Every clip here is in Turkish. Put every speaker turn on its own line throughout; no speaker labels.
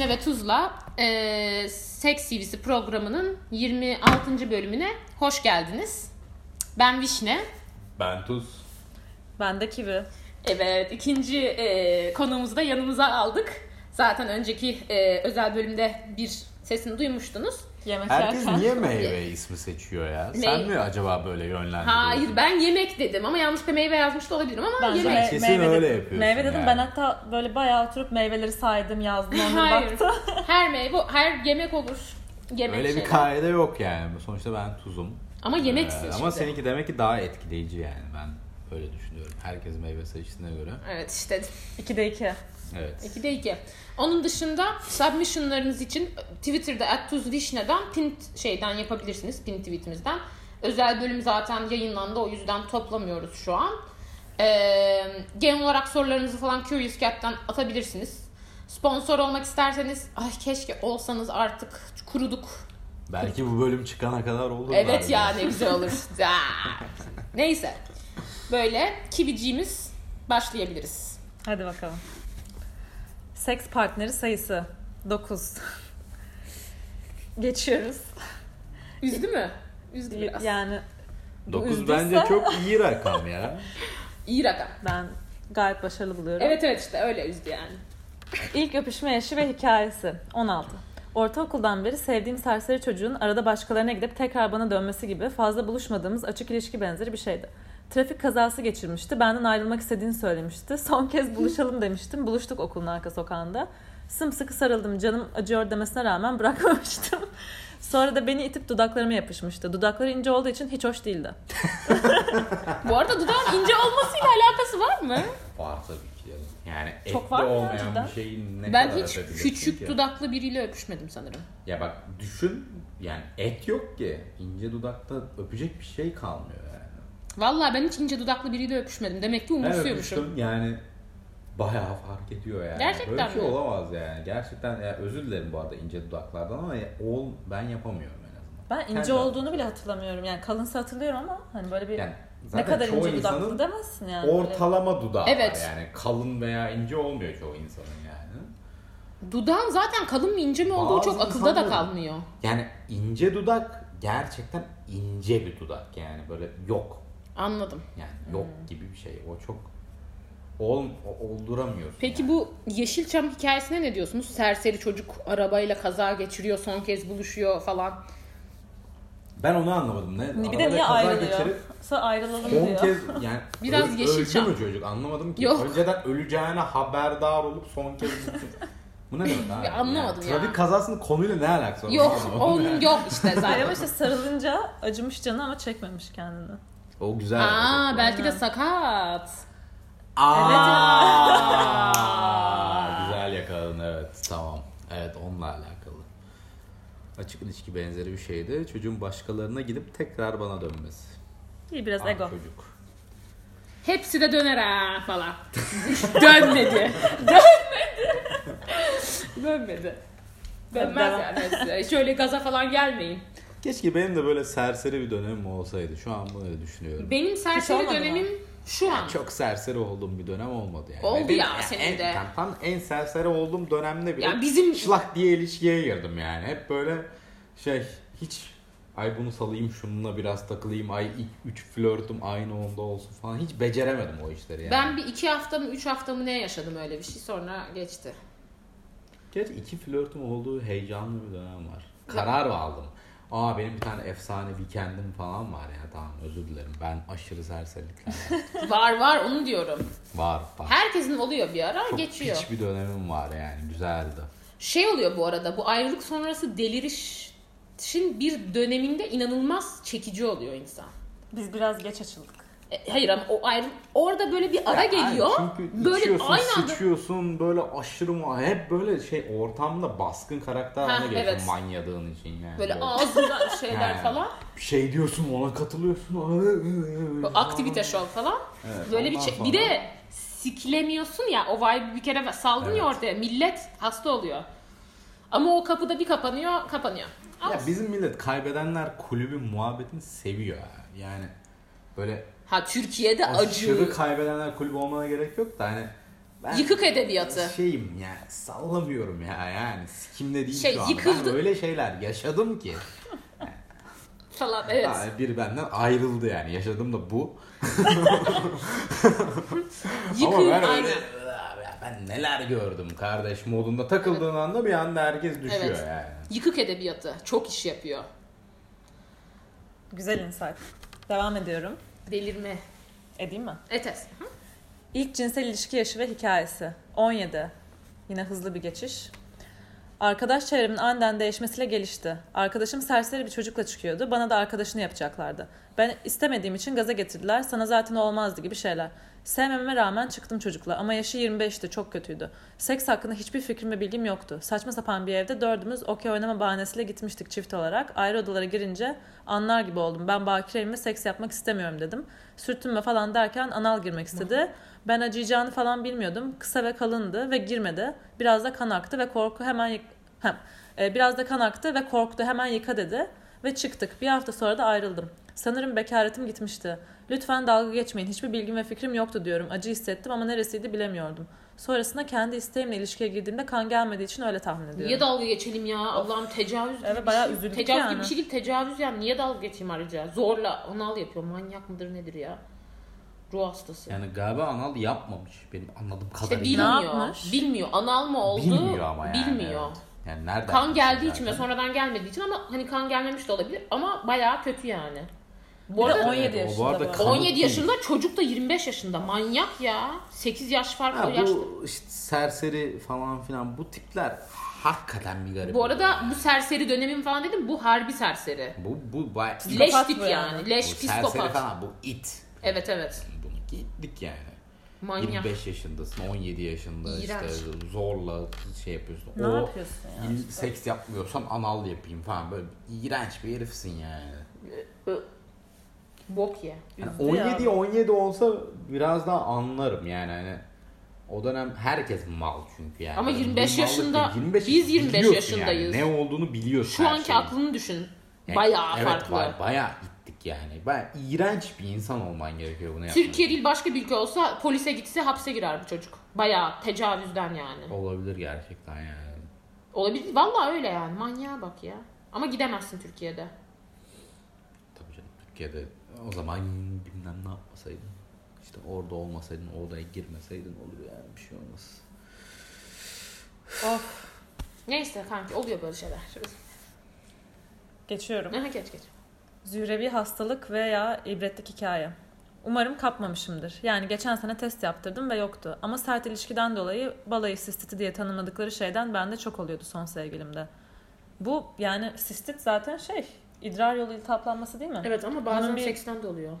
Merhaba. Ee, Seks CV'si programının 26. bölümüne hoş geldiniz. Ben Vişne.
Ben Tuz.
Ben de kibri.
Evet, ikinci e, konuğumuzu da yanımıza aldık. Zaten önceki e, özel bölümde bir sesini duymuştunuz.
Yemek
Herkes
yerken.
niye meyve ismi seçiyor ya? Sen mi acaba böyle yönlendiriyorsun?
Hayır, ben yemek dedim ama yanlış bir meyve yazmış da olabilirim ama
Bence
yemek.
me-
kesin
meyve
öyle
dedim.
yapıyorsun
Meyve dedim
yani.
ben hatta böyle bayağı oturup meyveleri saydım yazdım onlara
Hayır.
baktım.
her meyve, her yemek olur. Yemek
Öyle bir
şeyler.
kaide yok yani. Sonuçta ben tuzum.
Ama yemeksin
Ee,
şimdi.
ama seninki demek ki daha etkileyici yani. Ben öyle düşünüyorum. Herkes meyve seçtiğine göre.
Evet işte
2'de 2.
Evet.
2'de 2. Onun dışında submissionlarınız için Twitter'da @tuzvişne'den pin şeyden yapabilirsiniz pin tweetimizden. Özel bölüm zaten yayınlandı o yüzden toplamıyoruz şu an. Ee, genel olarak sorularınızı falan Curious Cat'ten atabilirsiniz. Sponsor olmak isterseniz ay keşke olsanız artık kuruduk.
Belki bu bölüm çıkana kadar olur.
Evet
belki.
ya ne güzel olur. Aa. Neyse. Böyle kibiciğimiz başlayabiliriz.
Hadi bakalım. Seks partneri sayısı 9. Geçiyoruz.
Üzdü mü? Üzdü biraz.
Yani bu
Dokuz
üzdüyse
bence çok iyi rakam ya.
İyi rakam.
ben gayet başarılı buluyorum.
Evet evet işte öyle üzdü yani.
İlk öpüşme yaşı ve hikayesi 16. Ortaokuldan beri sevdiğim serseri çocuğun arada başkalarına gidip tekrar bana dönmesi gibi fazla buluşmadığımız açık ilişki benzeri bir şeydi. Trafik kazası geçirmişti. Benden ayrılmak istediğini söylemişti. Son kez buluşalım demiştim. Buluştuk okulun arka sokağında. Sımsıkı sarıldım. Canım acıyor demesine rağmen bırakmamıştım. Sonra da beni itip dudaklarıma yapışmıştı. Dudakları ince olduğu için hiç hoş değildi.
Bu arada dudağın ince olmasıyla alakası var mı?
Var tabii ki. ya. Yani
Çok
etli
var mı
olmayan
cidden?
bir şeyin ne
ben
kadar
hiç
atabilirsin
küçük
ki?
dudaklı biriyle öpüşmedim sanırım.
Ya bak düşün yani et yok ki. İnce dudakta öpecek bir şey kalmıyor yani.
Vallahi ben hiç ince dudaklı biriyle öpüşmedim. Demek ki
Ben
umursuyormuşum.
öpüştüm yani bayağı fark ediyor yani.
Gerçekten
Böyle bir şey
mi?
olamaz yani. Gerçekten ya özür dilerim bu arada ince dudaklardan ama ya- ol, ben yapamıyorum en azından.
Ben ince
Kendi
olduğunu bile hatırlamıyorum. Yani kalınsa hatırlıyorum ama hani böyle bir
Yani
ne
zaten
kadar
çoğu
ince dudaklı
insanın
demezsin yani. Böyle-
Ortalama dudağı var
Evet.
yani kalın veya ince olmuyor çoğu insanın yani.
Dudağın zaten kalın mı ince mi olduğu
Bazı
çok akılda da
insanların-
kalmıyor.
Yani ince dudak gerçekten ince bir dudak yani böyle yok
Anladım.
yani yok
Hmm.
gibi bir şey. O çok ol, o- olduramıyorsun.
Peki
yani.
bu Yeşilçam hikayesine ne diyorsunuz? Serseri çocuk arabayla kaza geçiriyor, son kez buluşuyor falan.
ben onu anlamadım ne?
Bir
Arabayla
de niye
kaza
ayrılıyor?
geçirip-
Sonra ayrılalım
10
diyor.
kez yani
Biraz
ö-
Yeşilçam.
Öldü mü çocuk anlamadım ki.
Yok.
Önceden öleceğine haberdar olup son kez Bu ne demek abi?
Ya anlamadım
yani,
ya.
Trafik kazasının konuyla ne alakası var?
Yok,
Anlamadım
onun
yani.
yok işte
Hayır
zaten.
ama şey- işte sarılınca acımış canı ama çekmemiş kendini.
O güzel.
Aa
Evet.
belki de sakat.
Aa,
Evet
güzel yakaladın evet tamam. Evet onunla alakalı. Açık ilişki benzeri bir şeydi. Çocuğun başkalarına gidip tekrar bana dönmesi.
İyi biraz
Ah,
ego.
çocuk.
Hepsi de döner ha falan. Dönmedi. Dönmedi. Dönmedi. Dönmez
Devam.
yani. hepsi. Şöyle gaza falan gelmeyin.
Keşke benim de böyle serseri bir dönemim olsaydı. Şu an bunu düşünüyorum.
Benim serseri
olmadı mı?
dönemim şu an.
Çok serseri olduğum bir dönem olmadı yani.
Oldu
Benim
ya
en-
senin
en-
de.
Tam, tam en serseri olduğum dönemde bile
Ya bizim-
şılak diye ilişkiye girdim yani. Hep böyle şey hiç ay bunu salayım şununla biraz takılayım ay ilk üç flörtüm aynı onda olsun falan hiç beceremedim o işleri yani.
Ben bir iki hafta mı üç hafta mı ne yaşadım öyle bir şey sonra geçti.
Gerçi iki flörtüm olduğu heyecanlı bir dönem var. Karar aldım. Aa benim bir tane efsane weekendim falan var ya tamam özür dilerim ben aşırı serserilikler
Var var onu diyorum.
var var.
Herkesin oluyor bir ara
Çok
geçiyor.
piç bir dönemim var yani güzeldi.
Şey oluyor bu arada bu ayrılık sonrası delirişin bir döneminde inanılmaz çekici oluyor insan.
Biz biraz geç açıldık.
E, Hayır ama o ayrı orada böyle bir ara geliyor.
Yani çünkü
böyle
içiyorsun,
aynı anda
sıçıyorsun, böyle aşırı mu hep böyle şey ortamda baskın karakter
Ha,
haline geliyorsun
evet.
manyadığın için yani.
Böyle ağzından şeyler
Yani.
falan.
bir şey diyorsun ona ıı, katılıyorsun.
Bu Aktivite şov falan.
Evet,
Böyle bir
ondan
şey.
sonra-
Bir de siklemiyorsun ya o vibe bir kere saldın ya
Evet.
ortaya. Millet hasta oluyor. Ama o kapıda bir kapanıyor, kapanıyor. Al.
Ya bizim millet kaybedenler kulübü muhabbetini seviyor yani. Yani böyle
Ha Türkiye'de
aşırı
acı.
kaybedenler kulübü olmana gerek yok da hani Ben
Yıkık edebiyatı.
Şeyim yani sallamıyorum ya yani sikimde değil
Şey,
şu anda.
yıkıldı-
Ben öyle şeyler yaşadım ki.
Falan evet.
Ha, biri benden ayrıldı yani yaşadım da bu. Ama
Yıkığın
ben
aynı.
öyle ben neler gördüm kardeş modunda takıldığın anda bir anda herkes düşüyor
Evet.
yani.
Yıkık edebiyatı. Çok iş yapıyor.
Güzel insight. Devam ediyorum.
Delirme.
Edeyim mi?
Etes. Hı?
İlk cinsel ilişki yaşı ve hikayesi. 17. Yine hızlı bir geçiş. Arkadaş çevremin aniden değişmesiyle gelişti. Arkadaşım serseri bir çocukla çıkıyordu. Bana da arkadaşını yapacaklardı. Ben istemediğim için gaza getirdiler. Sana zaten olmazdı gibi şeyler. Sevmeme rağmen çıktım çocukla ama yaşı 25'ti çok kötüydü. Seks hakkında hiçbir fikrim ve bilgim yoktu. Saçma sapan bir evde dördümüz okey oynama bahanesiyle gitmiştik çift olarak. Ayrı odalara girince anlar gibi oldum. Ben bakireyim ve seks yapmak istemiyorum dedim. Sürtünme falan derken anal girmek istedi. Ben acıyacağını falan bilmiyordum. Kısa ve kalındı ve girmedi. Biraz da kan aktı ve korku hemen yık- hem, e, biraz da kan aktı ve korktu hemen yıka dedi. Ve çıktık. Bir hafta sonra da ayrıldım. Sanırım bekaretim gitmişti. Lütfen dalga geçmeyin. Hiçbir bilgim ve fikrim yoktu diyorum. Acı hissettim ama neresiydi bilemiyordum. Sonrasında kendi isteğimle ilişkiye girdiğimde kan gelmediği için öyle tahmin ediyorum.
Niye dalga geçelim ya? Allah'ım tecavüz gibi
Evet,
bir
bayağı
şey.
üzüldük
Tecavüz
yani.
gibi bir şey değil. Tecavüz yani. Niye dalga geçeyim ayrıca? Zorla. Anal yapıyor. Manyak mıdır nedir ya? Ruh hastası.
Yani galiba anal yapmamış benim anladığım
İşte
kadarıyla.
bilmiyor.
yapmış?
Bilmiyor. Anal mı oldu?
Bilmiyor ama yani.
Bilmiyor.
evet. Yani nereden
Kan
bilsin
geldiği için ve
zaten?
sonradan gelmediği için ama hani kan gelmemiş de olabilir ama bayağı kötü yani. Bu
Bir de
arada
17
Evet, o
yaşında.
bu arada
bu arada.
kan-
17
Kanıt
yaşında çocuk da 25 yaşında. Manyak ya. 8 yaş fark o
Ha,
yaşta.
bu işte serseri falan filan bu tipler hakikaten bir garip.
Bu arada bu serseri dönemim falan dedim. Bu harbi serseri.
bu bu bay-
Leş
Psikopat
tip
bu
yani.
yani.
bu
Leş
serseri
psikopat.
falan bu it.
Evet evet.
Bunu gittik yani.
Manyak.
25 yaşındasın, 17 yaşında
İğrenç.
işte zorla şey yapıyorsun.
Ne
o
yapıyorsun ya?
il- seks yapmıyorsam anal yapayım falan böyle iğrenç bir herifsin yani.
Bok ye.
Yani
Üzdü
17
ya.
17 olsa biraz daha anlarım yani hani o dönem herkes mal çünkü yani.
Ama
Böyle
25
bir mallık
yaşında-
yok. 25
biz 25
biliyorsun
yaşındayız.
Yani. Ne olduğunu biliyorsun.
Şu
her
anki
şeyin.
aklını düşün.
Yani
Bayağı
evet,
farklı.
ba- bayağı gittik yani. Bayağı iğrenç bir insan olman gerekiyor bunu yapmak.
Türkiye değil başka bir ülke olsa polise gitse hapse girer bu çocuk. Bayağı tecavüzden yani.
Olabilir gerçekten yani.
Olabilir. Vallahi öyle yani. Manyağa bak ya. Ama gidemezsin Türkiye'de.
Tabii canım Türkiye'de o zaman bilmem ne yapmasaydın. İşte orada olmasaydın, o odaya girmeseydin olur yani bir şey olmaz.
Of.
Neyse kanki oluyor böyle şeyler.
Geçiyorum.
Aha geç geç.
Zührevi hastalık veya ibretlik hikaye. Umarım kapmamışımdır. Yani geçen sene test yaptırdım ve yoktu. Ama sert ilişkiden dolayı balayı sistiti diye tanımladıkları şeyden bende çok oluyordu son sevgilimde. Bu yani sistit zaten şey idrar yolu iltihaplanması değil mi?
Evet ama bazen
Bunun bir-
seksten de oluyor.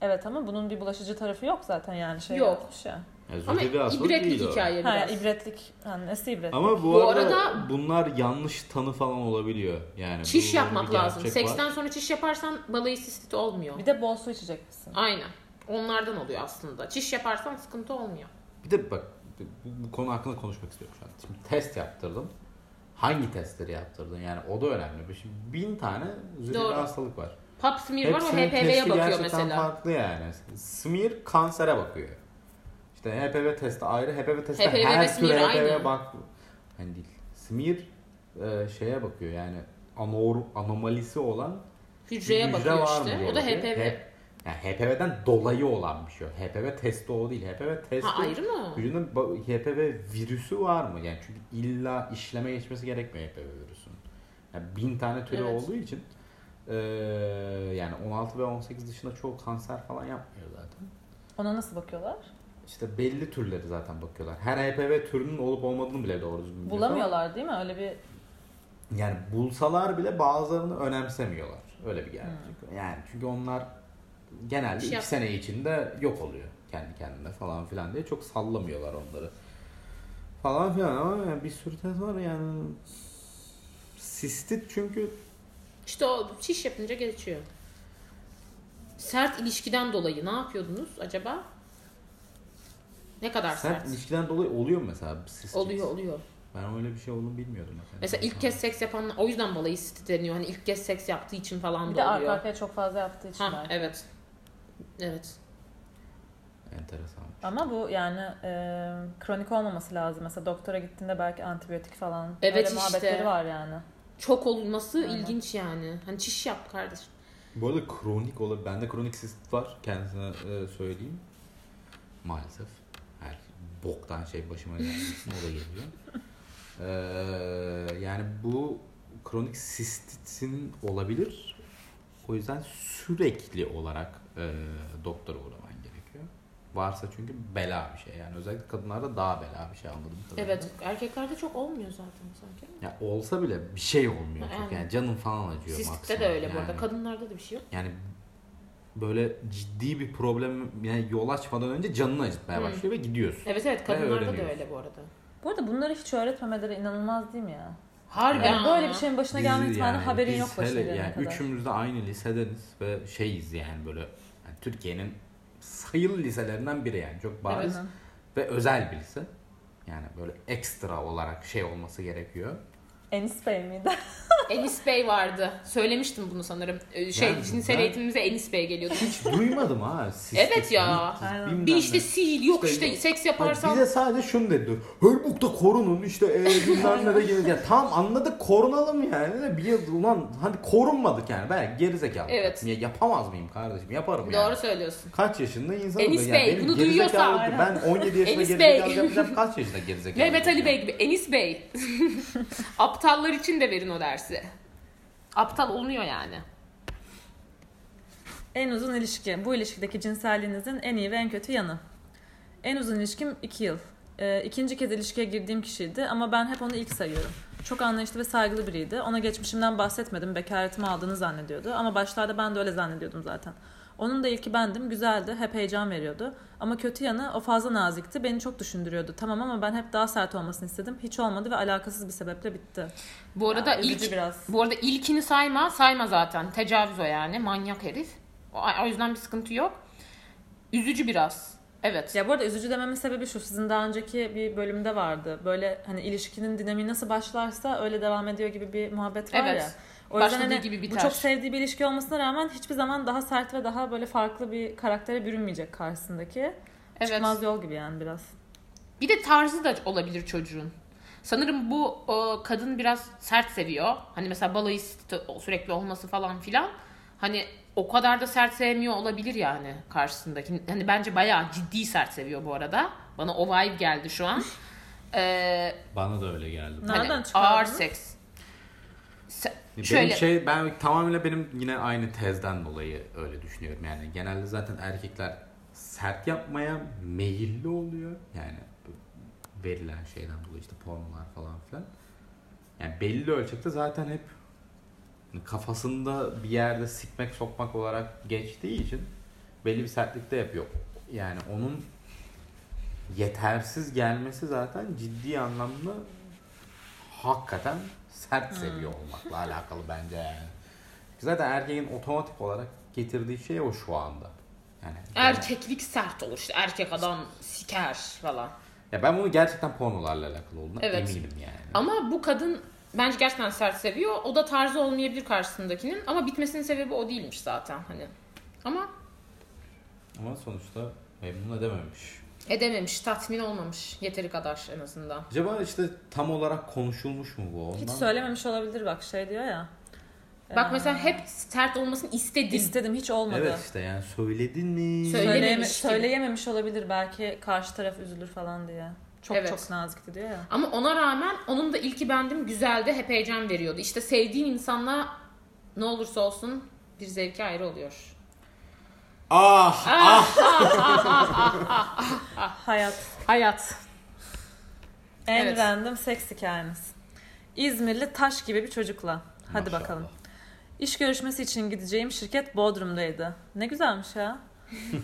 Evet ama bunun bir bulaşıcı tarafı yok zaten yani şey
Yok.
yapmış ya.
Yani
Ama
Zührevi hastalık
ibretlik
değil o.
hikaye
Ha
biraz.
ibretlik. Yani nesi ibretlik?
Ama bu,
Bu
arada,
arada-
bunlar yanlış tanı falan olabiliyor. Yani
Çiş
bu-
yapmak
bir gerçek
lazım.
var.
Seksten sonra çiş yaparsan balayı sistit olmuyor.
Bir de bol su içecek misin?
Aynen. Onlardan oluyor aslında. Çiş yaparsan sıkıntı olmuyor.
Bir de bak bu, bu konu hakkında konuşmak istiyorum şu an. Şimdi test yaptırdım. Hangi testleri yaptırdın? Yani o da önemli. Bir- Şimdi bin tane zührevi
Doğru.
hastalık var.
Pap smear var o
Hepsinin
HPV'ye
testi
bakıyor
gerçekten
mesela.
farklı yani. Smear kansere bakıyor. İşte HPV testi ayrı. HPV testi
HPV ve
her türlü
smear
HPV
aynı.
bak. Hani değil. Smear e, şeye bakıyor yani anor, anomalisi olan
Hücreye
bir hücre
bakıyor
var
işte.
mı
O da
diye.
HPV.
Hep- yani HPV'den dolayı olan bir şey. o. HPV testi o değil. HPV testi
Ha ayrı mı?
Vücudun ba- HPV virüsü var mı? Yani çünkü illa işleme geçmesi gerekmiyor HPV virüsünün. Yani bin tane türü
Evet.
olduğu için eee, yani 16 ve 18 dışında çoğu kanser falan yapmıyor zaten.
Ona nasıl bakıyorlar?
İşte belli türleri zaten bakıyorlar. Her HPV türünün olup olmadığını bile doğru düzgün biliyorlar.
Bulamıyorlar değil mi? Öyle bir
Yani bulsalar bile bazılarını önemsemiyorlar. Öyle bir gerçek.
Hmm.
Yani çünkü onlar genelde
Şey
iki
yap-
sene içinde yok oluyor kendi kendine falan filan diye çok sallamıyorlar onları. Falan filan ama yani bir sürü test var yani sistit çünkü
İşte o çiş yapınca geçiyor. Sert ilişkiden dolayı ne yapıyordunuz acaba? Ne kadar sert?
sert ilişkiden dolayı oluyor mu mesela sistit?
Oluyor oluyor.
Ben öyle bir şey olduğunu bilmiyordum.
Mesela ilk kez seks yapanlar o yüzden balayı sistit deniyor. Hani ilk kez seks yaptığı için falan
bir
da
de
oluyor.
arka arkaya çok fazla yaptığı için
Ha
belki.
evet. Evet.
Enteresan.
Ama bu yani e, kronik olmaması lazım. Mesela doktora gittiğinde belki antibiyotik falan.
Evet
Öyle
işte.
muhabbetleri var yani.
Çok olması
Aynen.
ilginç yani. Hani çiş yap kardeşim.
Bu arada kronik olabilir. Bende kronik sisit var. Kendisine e, söyleyeyim. Maalesef. Her boktan şey başıma gelmesin. O da geliyor. Ee, yani bu kronik sistitin olabilir. O yüzden sürekli olarak e, doktora uğraman gerekiyor. Varsa çünkü bela bir şey. Yani özellikle kadınlarda daha bela bir şey anladım.
Evet. Erkeklerde çok olmuyor zaten sanki.
Ya olsa bile bir şey olmuyor çok.
Aynen.
Yani canım falan acıyor
Sistikte
maksimum.
de öyle bu
Yani-
arada. Kadınlarda da bir şey yok.
yani böyle ciddi bir problem yani yol açmadan önce canını acıtmaya
Hı.
başlıyor ve
E,
gidiyorsun.
Evet evet kadınlarda da
öğreniyoruz.
öyle bu arada.
Bu arada bunları hiç öğretmemeleri inanılmaz değil mi ya?
Harbiden.
Yani böyle
şey
bir şeyin başına
Biz
gelme ihtimali
yani
haberin
biz
yok başına
hele
gelene
yani
kadar.
Üçümüz de aynı lisedeniz ve şeyiz yani böyle yani Türkiye'nin sayılı liselerinden biri yani çok
Değil
bariz
mi?
ve özel bir lise. Yani böyle ekstra olarak şey olması gerekiyor.
Enis Bey miydi?
Enis Bey vardı. Söylemiştim bunu sanırım. Ee, Şey
Yani
cinsel
ben-
eğitimimize Enis Bey geliyordu.
Hiç duymadım ha. sistik,
Evet ya.
mitik,
Aynen.
bilmem
Bir
ne.
işte sil yok
İşte
işte
yok.
seks
Hani
yaparsan
bize sadece şunu dedi. Hörmuk'ta korunun işte e, bilmem ne de gelir. Ya tamam anladık korunalım yani. De Bir yıl ulan hani korunmadık yani. Ben gerizekalı.
Evet.
Ya yapamaz mıyım kardeşim? Yaparım
doğru
yani.
söylüyorsun.
Kaç yaşında insan
Enis Bey, bunu duyuyorsa-
Ben 17 yaşında
Enis
gerizekalı
Bey.
yapacağım. Kaç yaşında gerizekalı?
Mehmet Ali
yapacağım?
Bey gibi Enis Bey. Aptallar için de verin o dersi. Aptal olunuyor yani.
En uzun ilişki. Bu ilişkideki cinselliğinizin en iyi ve en kötü yanı. En uzun ilişkim 2 yıl. Ee, ikinci kez ilişkiye girdiğim kişiydi ama ben hep onu ilk sayıyorum. Çok anlayışlı ve saygılı biriydi. Ona geçmişimden bahsetmedim. Bekaretimi aldığını zannediyordu. Ama başlarda ben de öyle zannediyordum zaten. Onun da ilki bendim. Güzeldi. Hep heyecan veriyordu. Ama kötü yanı o fazla nazikti. Beni çok düşündürüyordu. Tamam ama ben hep daha sert olmasını istedim. Hiç olmadı ve alakasız bir sebeple bitti.
Bu arada
Ya, üzücü
ilk
biraz.
bu arada ilkini sayma, sayma zaten. Tecavüz o yani. Manyak herif. O, o yüzden bir sıkıntı yok. Üzücü biraz. Evet.
Ya bu arada üzücü dememin sebebi şu. Sizin daha önceki bir bölümde vardı. Böyle hani ilişkinin dinamiği nasıl başlarsa öyle devam ediyor gibi bir muhabbet var
Evet.
ya. O yüzden
Başladığı
hani
gibi
bu
biter.
çok sevdiği bir ilişki olmasına rağmen hiçbir zaman daha sert ve daha böyle farklı bir karaktere bürünmeyecek karşısındaki.
Evet.
Çıkmaz yol gibi yani biraz.
Bir de tarzı da olabilir çocuğun. Sanırım bu e, kadın biraz sert seviyor. Hani mesela balayı st- sürekli olması falan filan. Hani o kadar da sert sevmiyor olabilir yani karşısındaki. Hani bence bayağı ciddi sert seviyor bu arada. Bana o vibe geldi şu an. Ee,
Bana da öyle geldi.
Ne-
hani
Nereden çıkardın?
ağır seks. Se-
Benim
şöyle
şey ben tamamıyla benim yine aynı tezden dolayı öyle düşünüyorum. Yani genelde zaten erkekler sert yapmaya meyilli oluyor. Yani verilen şeyden dolayı işte pornolar falan filan. Yani belli ölçekte zaten hep kafasında bir yerde sikmek sokmak olarak geçtiği için belli bir sertlikte yapıyor. Yani onun yetersiz gelmesi zaten ciddi anlamda hakikaten sert
Hmm.
seviyor olmakla alakalı bence yani. Zaten erkeğin otomatik olarak getirdiği şey o şu anda. Yani
erkeklik sert olur işte. Erkek adam siker falan.
ya ben bunu gerçekten pornolarla alakalı olduğuna
Evet.
eminim yani.
Ama bu kadın bence gerçekten sert seviyor. O da tarzı olmayabilir karşısındakinin ama bitmesinin sebebi o değilmiş zaten hani. Ama
Ama sonuçta memnun edememiş.
edememiş, tatmin olmamış yeteri kadar en azından.
Acaba işte tam olarak konuşulmuş mu bu ondan?
Hiç söylememiş olabilir bak şey diyor ya.
Bak
Ee.
mesela hep sert olmasını istedim.
İstedim hiç olmadı.
Evet işte yani söyledin mi?
Söyle-
Söyleyeme-
Söylememiş gibi.
söyleyememiş olabilir belki karşı taraf üzülür falan diye. Çok
Evet.
çok nazikti diyor ya.
ama ona rağmen onun da ilki bendim güzeldi, hep heyecan veriyordu. İşte sevdiğin insanla ne olursa olsun bir zevki ayrı oluyor.
ah!
Hayat.
Hayat.
En
Evet.
random seks hikayemiz. İzmirli taş gibi bir çocukla. Hadi
Maşallah.
bakalım. İş görüşmesi için gideceğim şirket Bodrum'daydı. Ne güzelmiş ya.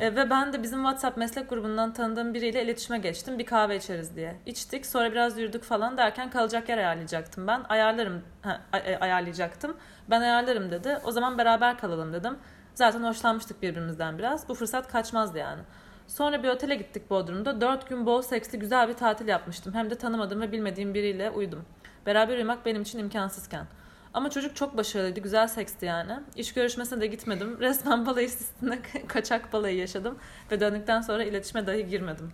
E, ve ben de bizim WhatsApp meslek grubundan tanıdığım biriyle iletişime geçtim. Bir kahve içeriz diye. İçtik sonra biraz yürüdük falan derken kalacak yer ayarlayacaktım ben. Ayarlarım ha, ay- ay- ayarlayacaktım. Ben ayarlarım dedi. O zaman beraber kalalım dedim. Zaten hoşlanmıştık birbirimizden biraz. Bu fırsat kaçmazdı yani. Sonra bir otele gittik Bodrum'da. 4 gün bol seksli güzel bir tatil yapmıştım. Hem de tanımadığım ve bilmediğim biriyle uyudum. Beraber uyumak benim için imkansızken. Ama çocuk çok başarılıydı. Güzel seksti yani. İş görüşmesine de gitmedim. Resmen balayı sistinde kaçak balayı yaşadım. Ve döndükten sonra iletişime dahi girmedim.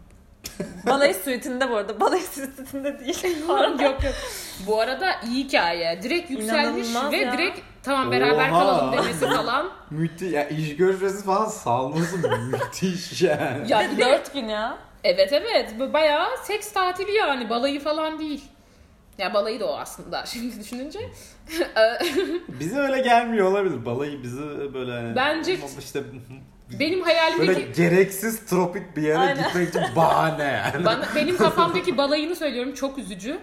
balayı suitinde bu arada. Balayı suitinde değil. Pardon.
yok yok. Bu arada iyi hikaye. Direkt yükselmiş
İnanılmaz
ve
ya.
direkt tamam beraber
Oha.
kalalım demesi falan.
Müthiş. Ya iş görüşmesi falan salması müthiş yani.
Ya bir de-
Dört gün ya.
evet evet bu bayağı seks tatili yani balayı falan değil. Ya balayı da o aslında şimdi düşününce.
Bize öyle gelmiyor olabilir. Balayı bizi böyle hani-
Bence-
işte
Benim hayalimdeki
böyle gereksiz tropik bir yere
Aynen.
gitmek için bahane yani.
Bana, benim kafamdaki balayını söylüyorum çok üzücü.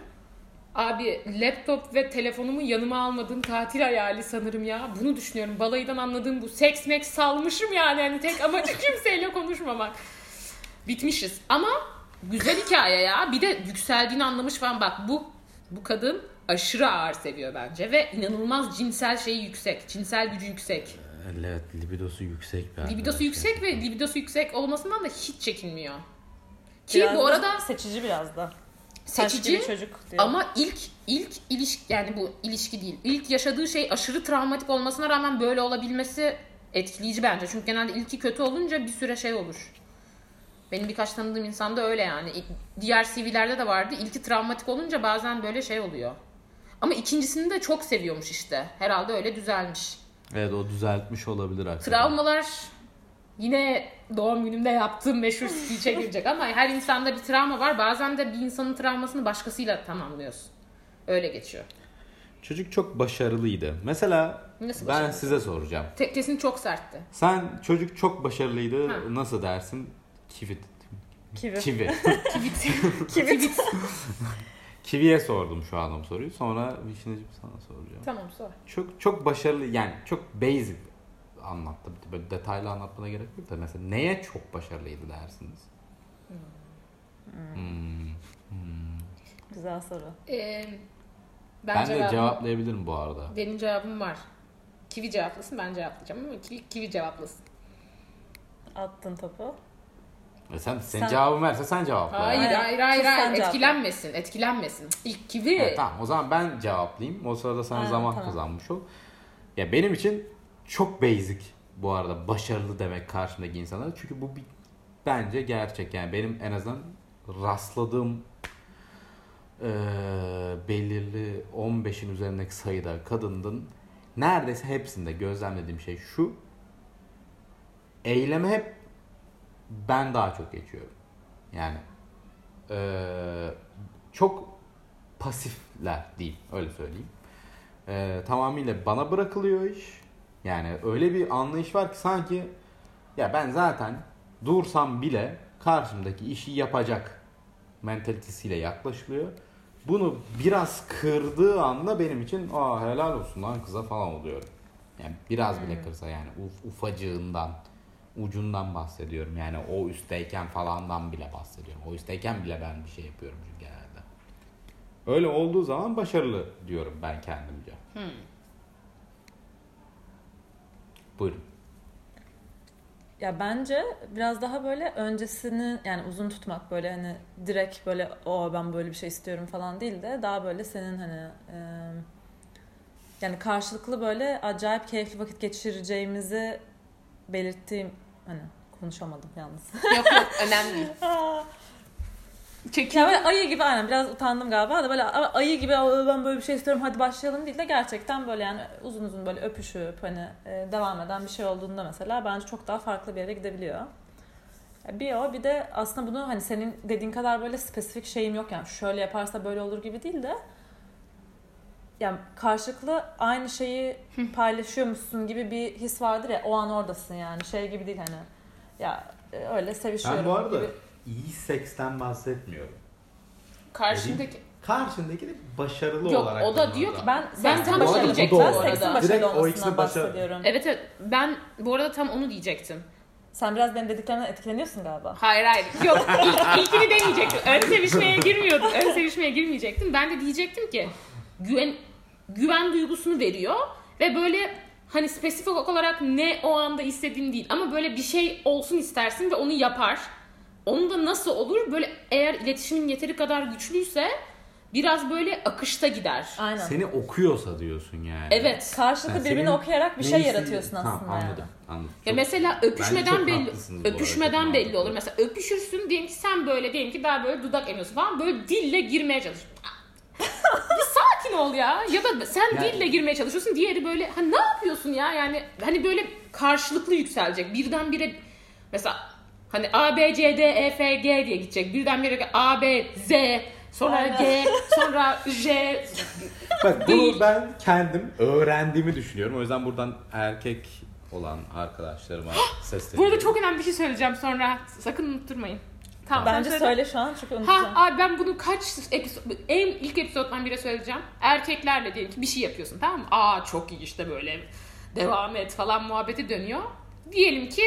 Abi laptop ve telefonumu yanıma almadığım tatil hayali sanırım ya. Bunu düşünüyorum. Balayıdan anladığım bu. Seks mek salmışım yani. Hani tek amacı kimseyle konuşmamak. Bitmişiz. Ama güzel hikaye ya. Bir de yükseldiğini anlamış falan. Bak bu bu kadın aşırı ağır seviyor bence ve inanılmaz cinsel şeyi yüksek. Cinsel gücü yüksek.
Evet libidosu yüksek bir
Libidosu yüksek ve libidosu yüksek olmasından da hiç çekinmiyor. Ki
Biraz
bu
da
arada
seçici biraz da. Taş
seçici
gibi çocuk diyor.
ama ilk ilk ilişki yani bu ilişki değil. İlk yaşadığı şey aşırı travmatik olmasına rağmen böyle olabilmesi etkileyici bence. Çünkü genelde ilki kötü olunca bir süre şey olur. Benim birkaç tanıdığım insanda öyle yani. İ- Diğer CV'lerde de vardı. İlki travmatik olunca bazen böyle şey oluyor. Ama ikincisini de çok seviyormuş işte. Herhalde öyle düzelmiş.
Evet o düzeltmiş olabilir hakikaten.
Travmalar yine doğum günümde yaptığım meşhur speech'e girecek ama her insanda bir travma var. Bazen de bir insanın travmasını başkasıyla tamamlıyorsun. Öyle geçiyor.
Çocuk çok başarılıydı. Mesela
Nasıl
ben
başarılı?
size soracağım.
Te- kesin çok sertti.
Sen çocuk çok başarılıydı
Ha.
nasıl dersin? Kivi.
Kivi.
Kivi.
Kivi.
Kivi'ye sordum şu an o soruyu. Sonra Vişneciğim sana soracağım.
Tamam sor.
Çok çok başarılı yani çok basic anlattı. Böyle detaylı anlatmana gerek yok da mesela neye çok başarılıydı dersiniz? Hmm. Hmm.
Güzel soru.
Ee, ben,
Ben, de
cevabım-
cevaplayabilirim bu arada.
Benim cevabım var. Kivi cevaplasın ben cevaplayacağım ama kivi, kivi cevaplasın.
Attın topu.
E sen, sen,
Sen-
cevabını verse sen cevapla.
Hayır
yani.
hayır
Aynen.
hayır hayır,
Kız sen cevapla.
etkilenmesin etkilenmesin. İlk kivi.
Evet, E, tamam o zaman ben cevaplayayım. O sırada sana
Aynen,
zaman
tamam.
kazanmış ol. Ya benim için çok basic bu arada başarılı demek karşımdaki insanlara. Çünkü bu bir, bence gerçek. Yani benim en azından rastladığım eee, belirli 15'in üzerindeki sayıda kadının neredeyse hepsinde gözlemlediğim şey şu. Eyleme hep ben daha çok geçiyorum. Yani eee, çok pasifler diyeyim öyle söyleyeyim. Ee, tamamıyla bana bırakılıyor iş. Yani öyle bir anlayış var ki sanki ya ben zaten dursam bile karşımdaki işi yapacak mentalitesiyle yaklaşılıyor. Bunu biraz kırdığı anda benim için aa helal olsun lan kıza falan oluyorum. Yani biraz bile kırsa yani uf- ufacığından ucundan bahsediyorum. Yani o üstteyken falandan bile bahsediyorum. O üstteyken bile ben bir şey yapıyorum çünkü genelde. Öyle olduğu zaman başarılı diyorum ben kendimce.
Hmm.
Buyurun.
Ya bence biraz daha böyle öncesini yani uzun tutmak böyle hani direkt böyle o ben böyle bir şey istiyorum falan değil de daha böyle senin hani e, yani karşılıklı böyle acayip keyifli vakit geçireceğimizi belirttiğim hani konuşamadım yalnız.
Yok yok önemli değil.
Ya böyle ayı gibi aynen biraz utandım galiba da böyle a- ayı gibi "Aa, ben böyle bir şey istiyorum hadi başlayalım değil de gerçekten böyle yani uzun uzun böyle öpüşüp hani e, devam eden bir şey olduğunda mesela bence çok daha farklı bir yere gidebiliyor. Ya Bir o bir de aslında bunu hani senin dediğin kadar böyle spesifik şeyim yok yani şöyle yaparsa böyle olur gibi değil de yani karşılıklı aynı şeyi paylaşıyormuşsun gibi bir his vardır ya o an oradasın yani şey gibi değil hani ya e, öyle sevişiyorum
Ben bu arada
gibi.
iyi seksten bahsetmiyorum.
Karşındaki
Karşındaki de başarılı
Yok,
olarak.
o da
görüyorum
diyor ki
Ben
Ben tam
Bu arada
şey
bu
diyecektim bu
doğru.
Ben seksin
arada.
baş-
başarılı
Direkt o
olmasından
ikisini başarı-
bahsediyorum.
Evet evet ben bu arada tam onu diyecektim.
Sen biraz benim dediklerimden etkileniyorsun galiba.
Hayır hayır. Yok ilk, ilkini demeyecektim. Ön sevişmeye girmiyordum. Ön sevişmeye girmeyecektim. Ben de diyecektim ki güven güven duygusunu veriyor ve böyle hani spesifik olarak ne o anda istediğin değil ama böyle bir şey olsun istersin ve onu yapar. Onu da nasıl olur? Böyle eğer iletişimin yeteri kadar güçlüyse Biraz böyle akışta gider.
Aynen.
Seni okuyorsa diyorsun yani.
Evet.
Karşılıklı
Yani
birbirini
senin
okuyarak bir şey
neyse-
yaratıyorsun
Tamam,
aslında. yani.
anladım. anladım.
Ya
Çok-
mesela öpüşmeden
çok
belli
haklısınız bu arada,
öpüşmeden
çok
belli
mantıklı.
olur. Mesela öpüşürsün diyelim ki sen böyle diyelim ki daha böyle dudak emiyorsun falan böyle dille girmeye çalış. bir sakin ol ya. Ya da sen
Yani-
dille girmeye çalışıyorsun. Diğeri böyle ha ne yapıyorsun ya? Yani hani böyle karşılıklı yükselecek. Birdenbire mesela hani A B C D E F G diye gidecek. Birdenbire A B Z sonra
Aynen.
G sonra J
Bak
Değil.
bunu ben kendim öğrendiğimi düşünüyorum. O yüzden buradan erkek olan arkadaşlarıma
Bu
sesleniyorum.
arada çok önemli bir şey söyleyeceğim sonra. Sakın unutturmayın. Tamam.
Bence
sen
söyle şu an çünkü
Ha
unutacağım.
abi ben bunu kaç episod en ilk episoddan biri söyleyeceğim. Erkeklerle diyelim ki bir şey yapıyorsun tamam mı? Aa çok iyi işte böyle devam et falan muhabbeti dönüyor. Diyelim ki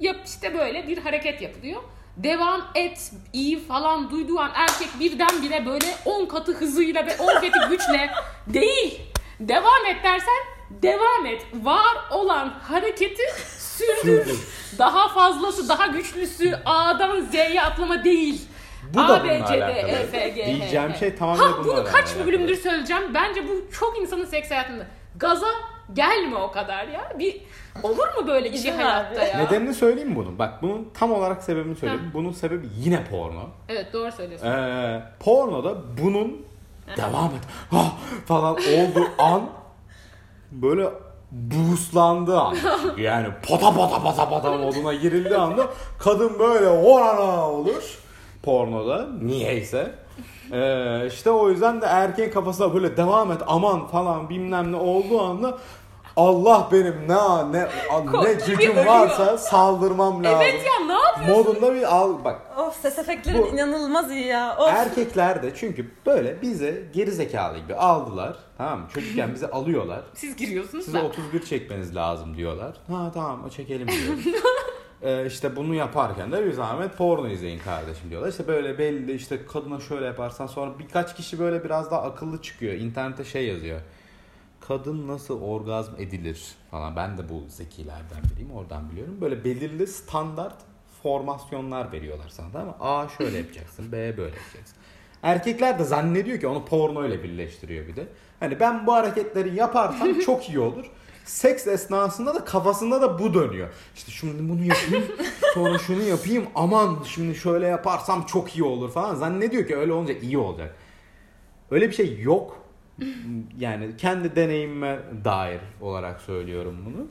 yap işte böyle bir hareket yapılıyor. Devam et iyi falan duyduğu an erkek birdenbire böyle 10 katı hızıyla ve 10 katı güçle değil devam et dersen devam et. Var olan hareketi sürdür.
Sürdür.
daha fazlası daha güçlüsü A'dan Z'ye atlama değil.
Bu da bununla
D,
alakalı.
E, F, G, H,
Diyeceğim
H.
şey tamamen
Ha
bununla
bunu kaç
alakalı.
bölümdür söyleyeceğim. Bence bu çok insanın seks hayatında. Gaza gelme o kadar ya. Bir olur mu böyle bir şey
İzin ver
hayatta
bir.
ya?
Nedenini söyleyeyim mi bunun? Bak bunun tam olarak sebebini söyleyeyim. Bunun sebebi yine porno.
Evet doğru söylüyorsun.
Ee, pornoda bunun devam et ah, falan olduğu an böyle boostlandı an. Yani pata pata pata pata moduna girildiği anda kadın böyle orana olur pornoda niyeyse. Ee, işte o yüzden de erkeğin kafasına böyle devam et aman falan bilmem ne olduğu anda Allah benim ne ne ne
Korktu, bir
gücüm
ölüyor.
varsa saldırmam lazım.
Evet ya ne yapıyorsun?
Modunda bir al bak
Of ses efektlerin
Bu- Er-
inanılmaz iyi ya. Of.
Erkekler de çünkü böyle bize geri zekalı gibi aldılar. Tamam mı? Çocukken bizi alıyorlar.
Siz giriyorsunuz
Size
da.
31 çekmeniz lazım diyorlar. Ha tamam o çekelim diyoruz. ee, işte bunu yaparken de bir zahmet porno izleyin kardeşim diyorlar. İşte böyle belli işte kadına şöyle yaparsan sonra birkaç kişi böyle biraz daha akıllı çıkıyor. İnternette şey yazıyor. Kadın nasıl orgazm edilir falan. Ben de bu zekilerden biriyim oradan biliyorum. Böyle belirli standart formasyonlar veriyorlar sana tamam mı? A şöyle yapacaksın, B böyle yapacaksın. Erkekler de zannediyor ki onu porno ile birleştiriyor bir de. Hani ben bu hareketleri yaparsam çok iyi olur. Seks esnasında da kafasında da bu dönüyor. İşte şimdi bunu yapayım, sonra şunu yapayım. Aman şimdi şöyle yaparsam çok iyi olur falan. Zannediyor ki öyle olunca iyi olacak. Öyle bir şey yok. Yani kendi deneyimime dair olarak söylüyorum bunu.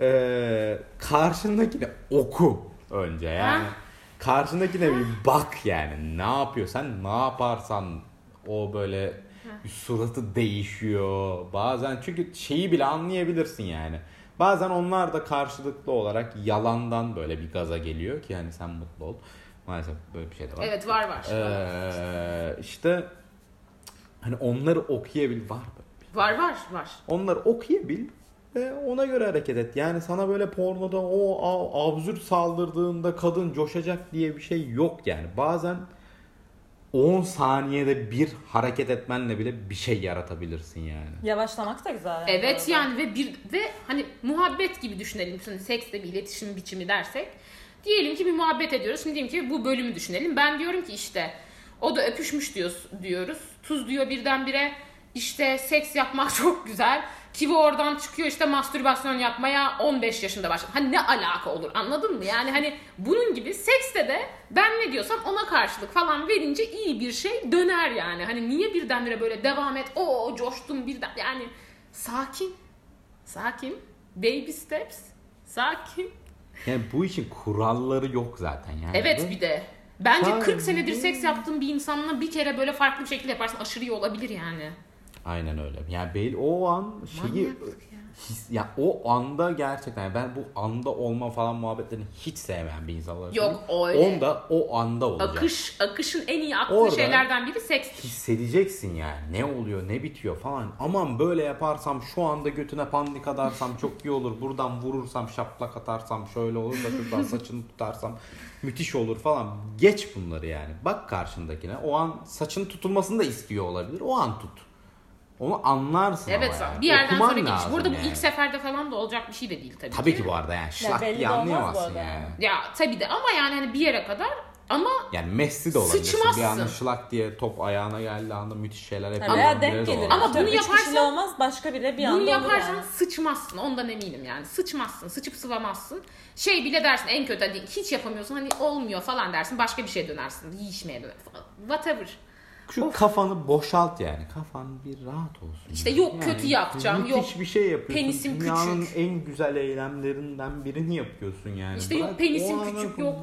Ee, karşındakine oku önce yani.
Ha?
Karşındakine bir bak yani. Ne yapıyor? Sen ne yaparsan o böyle suratı değişiyor. Bazen çünkü şeyi bile anlayabilirsin yani. Bazen onlar da karşılıklı olarak yalandan böyle bir gaza geliyor ki yani sen mutlu ol. Maalesef böyle bir şey de var.
Evet var var.
Ee, işte hani onları okuyabil var mı?
Var var var.
Onları okuyabil ve ona göre hareket et. Yani sana böyle pornoda o a- absürt saldırdığında kadın coşacak diye bir şey yok yani. Bazen 10 saniyede bir hareket etmenle bile bir şey yaratabilirsin yani.
Yavaşlamak da güzel. yani bu
Evet
arada.
yani ve bir ve hani muhabbet gibi düşünelim. Şimdi seksle bir iletişim biçimi dersek. Diyelim ki bir muhabbet ediyoruz. Şimdi diyelim ki bu bölümü düşünelim. Ben diyorum ki işte o da öpüşmüş diyoruz. diyoruz. Tuz diyor birdenbire işte seks yapmak çok güzel. Kivi oradan çıkıyor işte mastürbasyon yapmaya 15 yaşında başladı. Hani ne alaka olur anladın mı? Yani hani bunun gibi sekste de ben ne diyorsam ona karşılık falan verince iyi bir şey döner yani. Hani niye birdenbire böyle devam et o coştum birden yani Sakin. Sakin. Baby steps. Sakin.
Yani bu için kuralları yok zaten yani.
Evet bir de. Bence
Sakin.
40 senedir seks yaptığın bir insanla bir kere böyle farklı bir şekilde yaparsan aşırı iyi olabilir yani.
Aynen öyle. Yani belli o an şeyi
Manyaklık ya.
his, ya o anda gerçekten yani ben bu anda olma falan muhabbetlerini hiç sevmeyen bir insan olarak.
Yok,
söylüyorum.
öyle.
Onda o anda olacak.
Akış, akışın en iyi aklı
Orada-
şeylerden biri sekstir.
Hissedeceksin yani ne oluyor ne bitiyor falan. Aman böyle yaparsam şu anda götüne pandik atarsam çok iyi olur. Buradan vurursam şaplak atarsam şöyle olur da şuradan saçını tutarsam müthiş olur falan. Geç bunları yani. Bak karşındakine o an saçın tutulmasını da istiyor olabilir. O an tut. Onu anlarsın
Evet
ama yani.
bir yerden
Okuman
sonra geliş.
lazım
Burada bu
yani.
ilk seferde falan da olacak bir şey de değil tabii,
Tabii ki bu arada yani şlak
belli
diye
de olmaz bu
anlayamazsın
arada.
yani.
Ya tabii de ama yani hani bir yere kadar Ama
Yani Messi de olabilir.
Sıçmazsın.
Bir anda şlak diye top ayağına geldiği anda müthiş şeyler
Yani
yapıyor.
veya
olabilir
denk
de
gelir.
olabilir.
Ama bunu
Üç kişiyle
yaparsan-
olmaz başka bile bir anda
Bunu
olur
yaparsan
yani.
sıçmazsın. Ondan eminim yani. Sıçmazsın. Sıçıp sıvamazsın. Şey bile dersin en kötü hani hiç yapamıyorsun. Hani olmuyor falan dersin. Başka bir şeye dönersin. Yiyişmeye dönersin falan. Whatever.
Şu kafanı boşalt yani. Kafan bir rahat olsun.
İşte
Yani.
yok
Yani
kötü yapacağım.
Müthiş
Yok
bir şey yapıyorsun.
penisim
Dünyanın
küçük.
en güzel eylemlerinden birini yapıyorsun yani.
İşte yok
Bırak
penisim
o ana
küçük,
bunu.
yok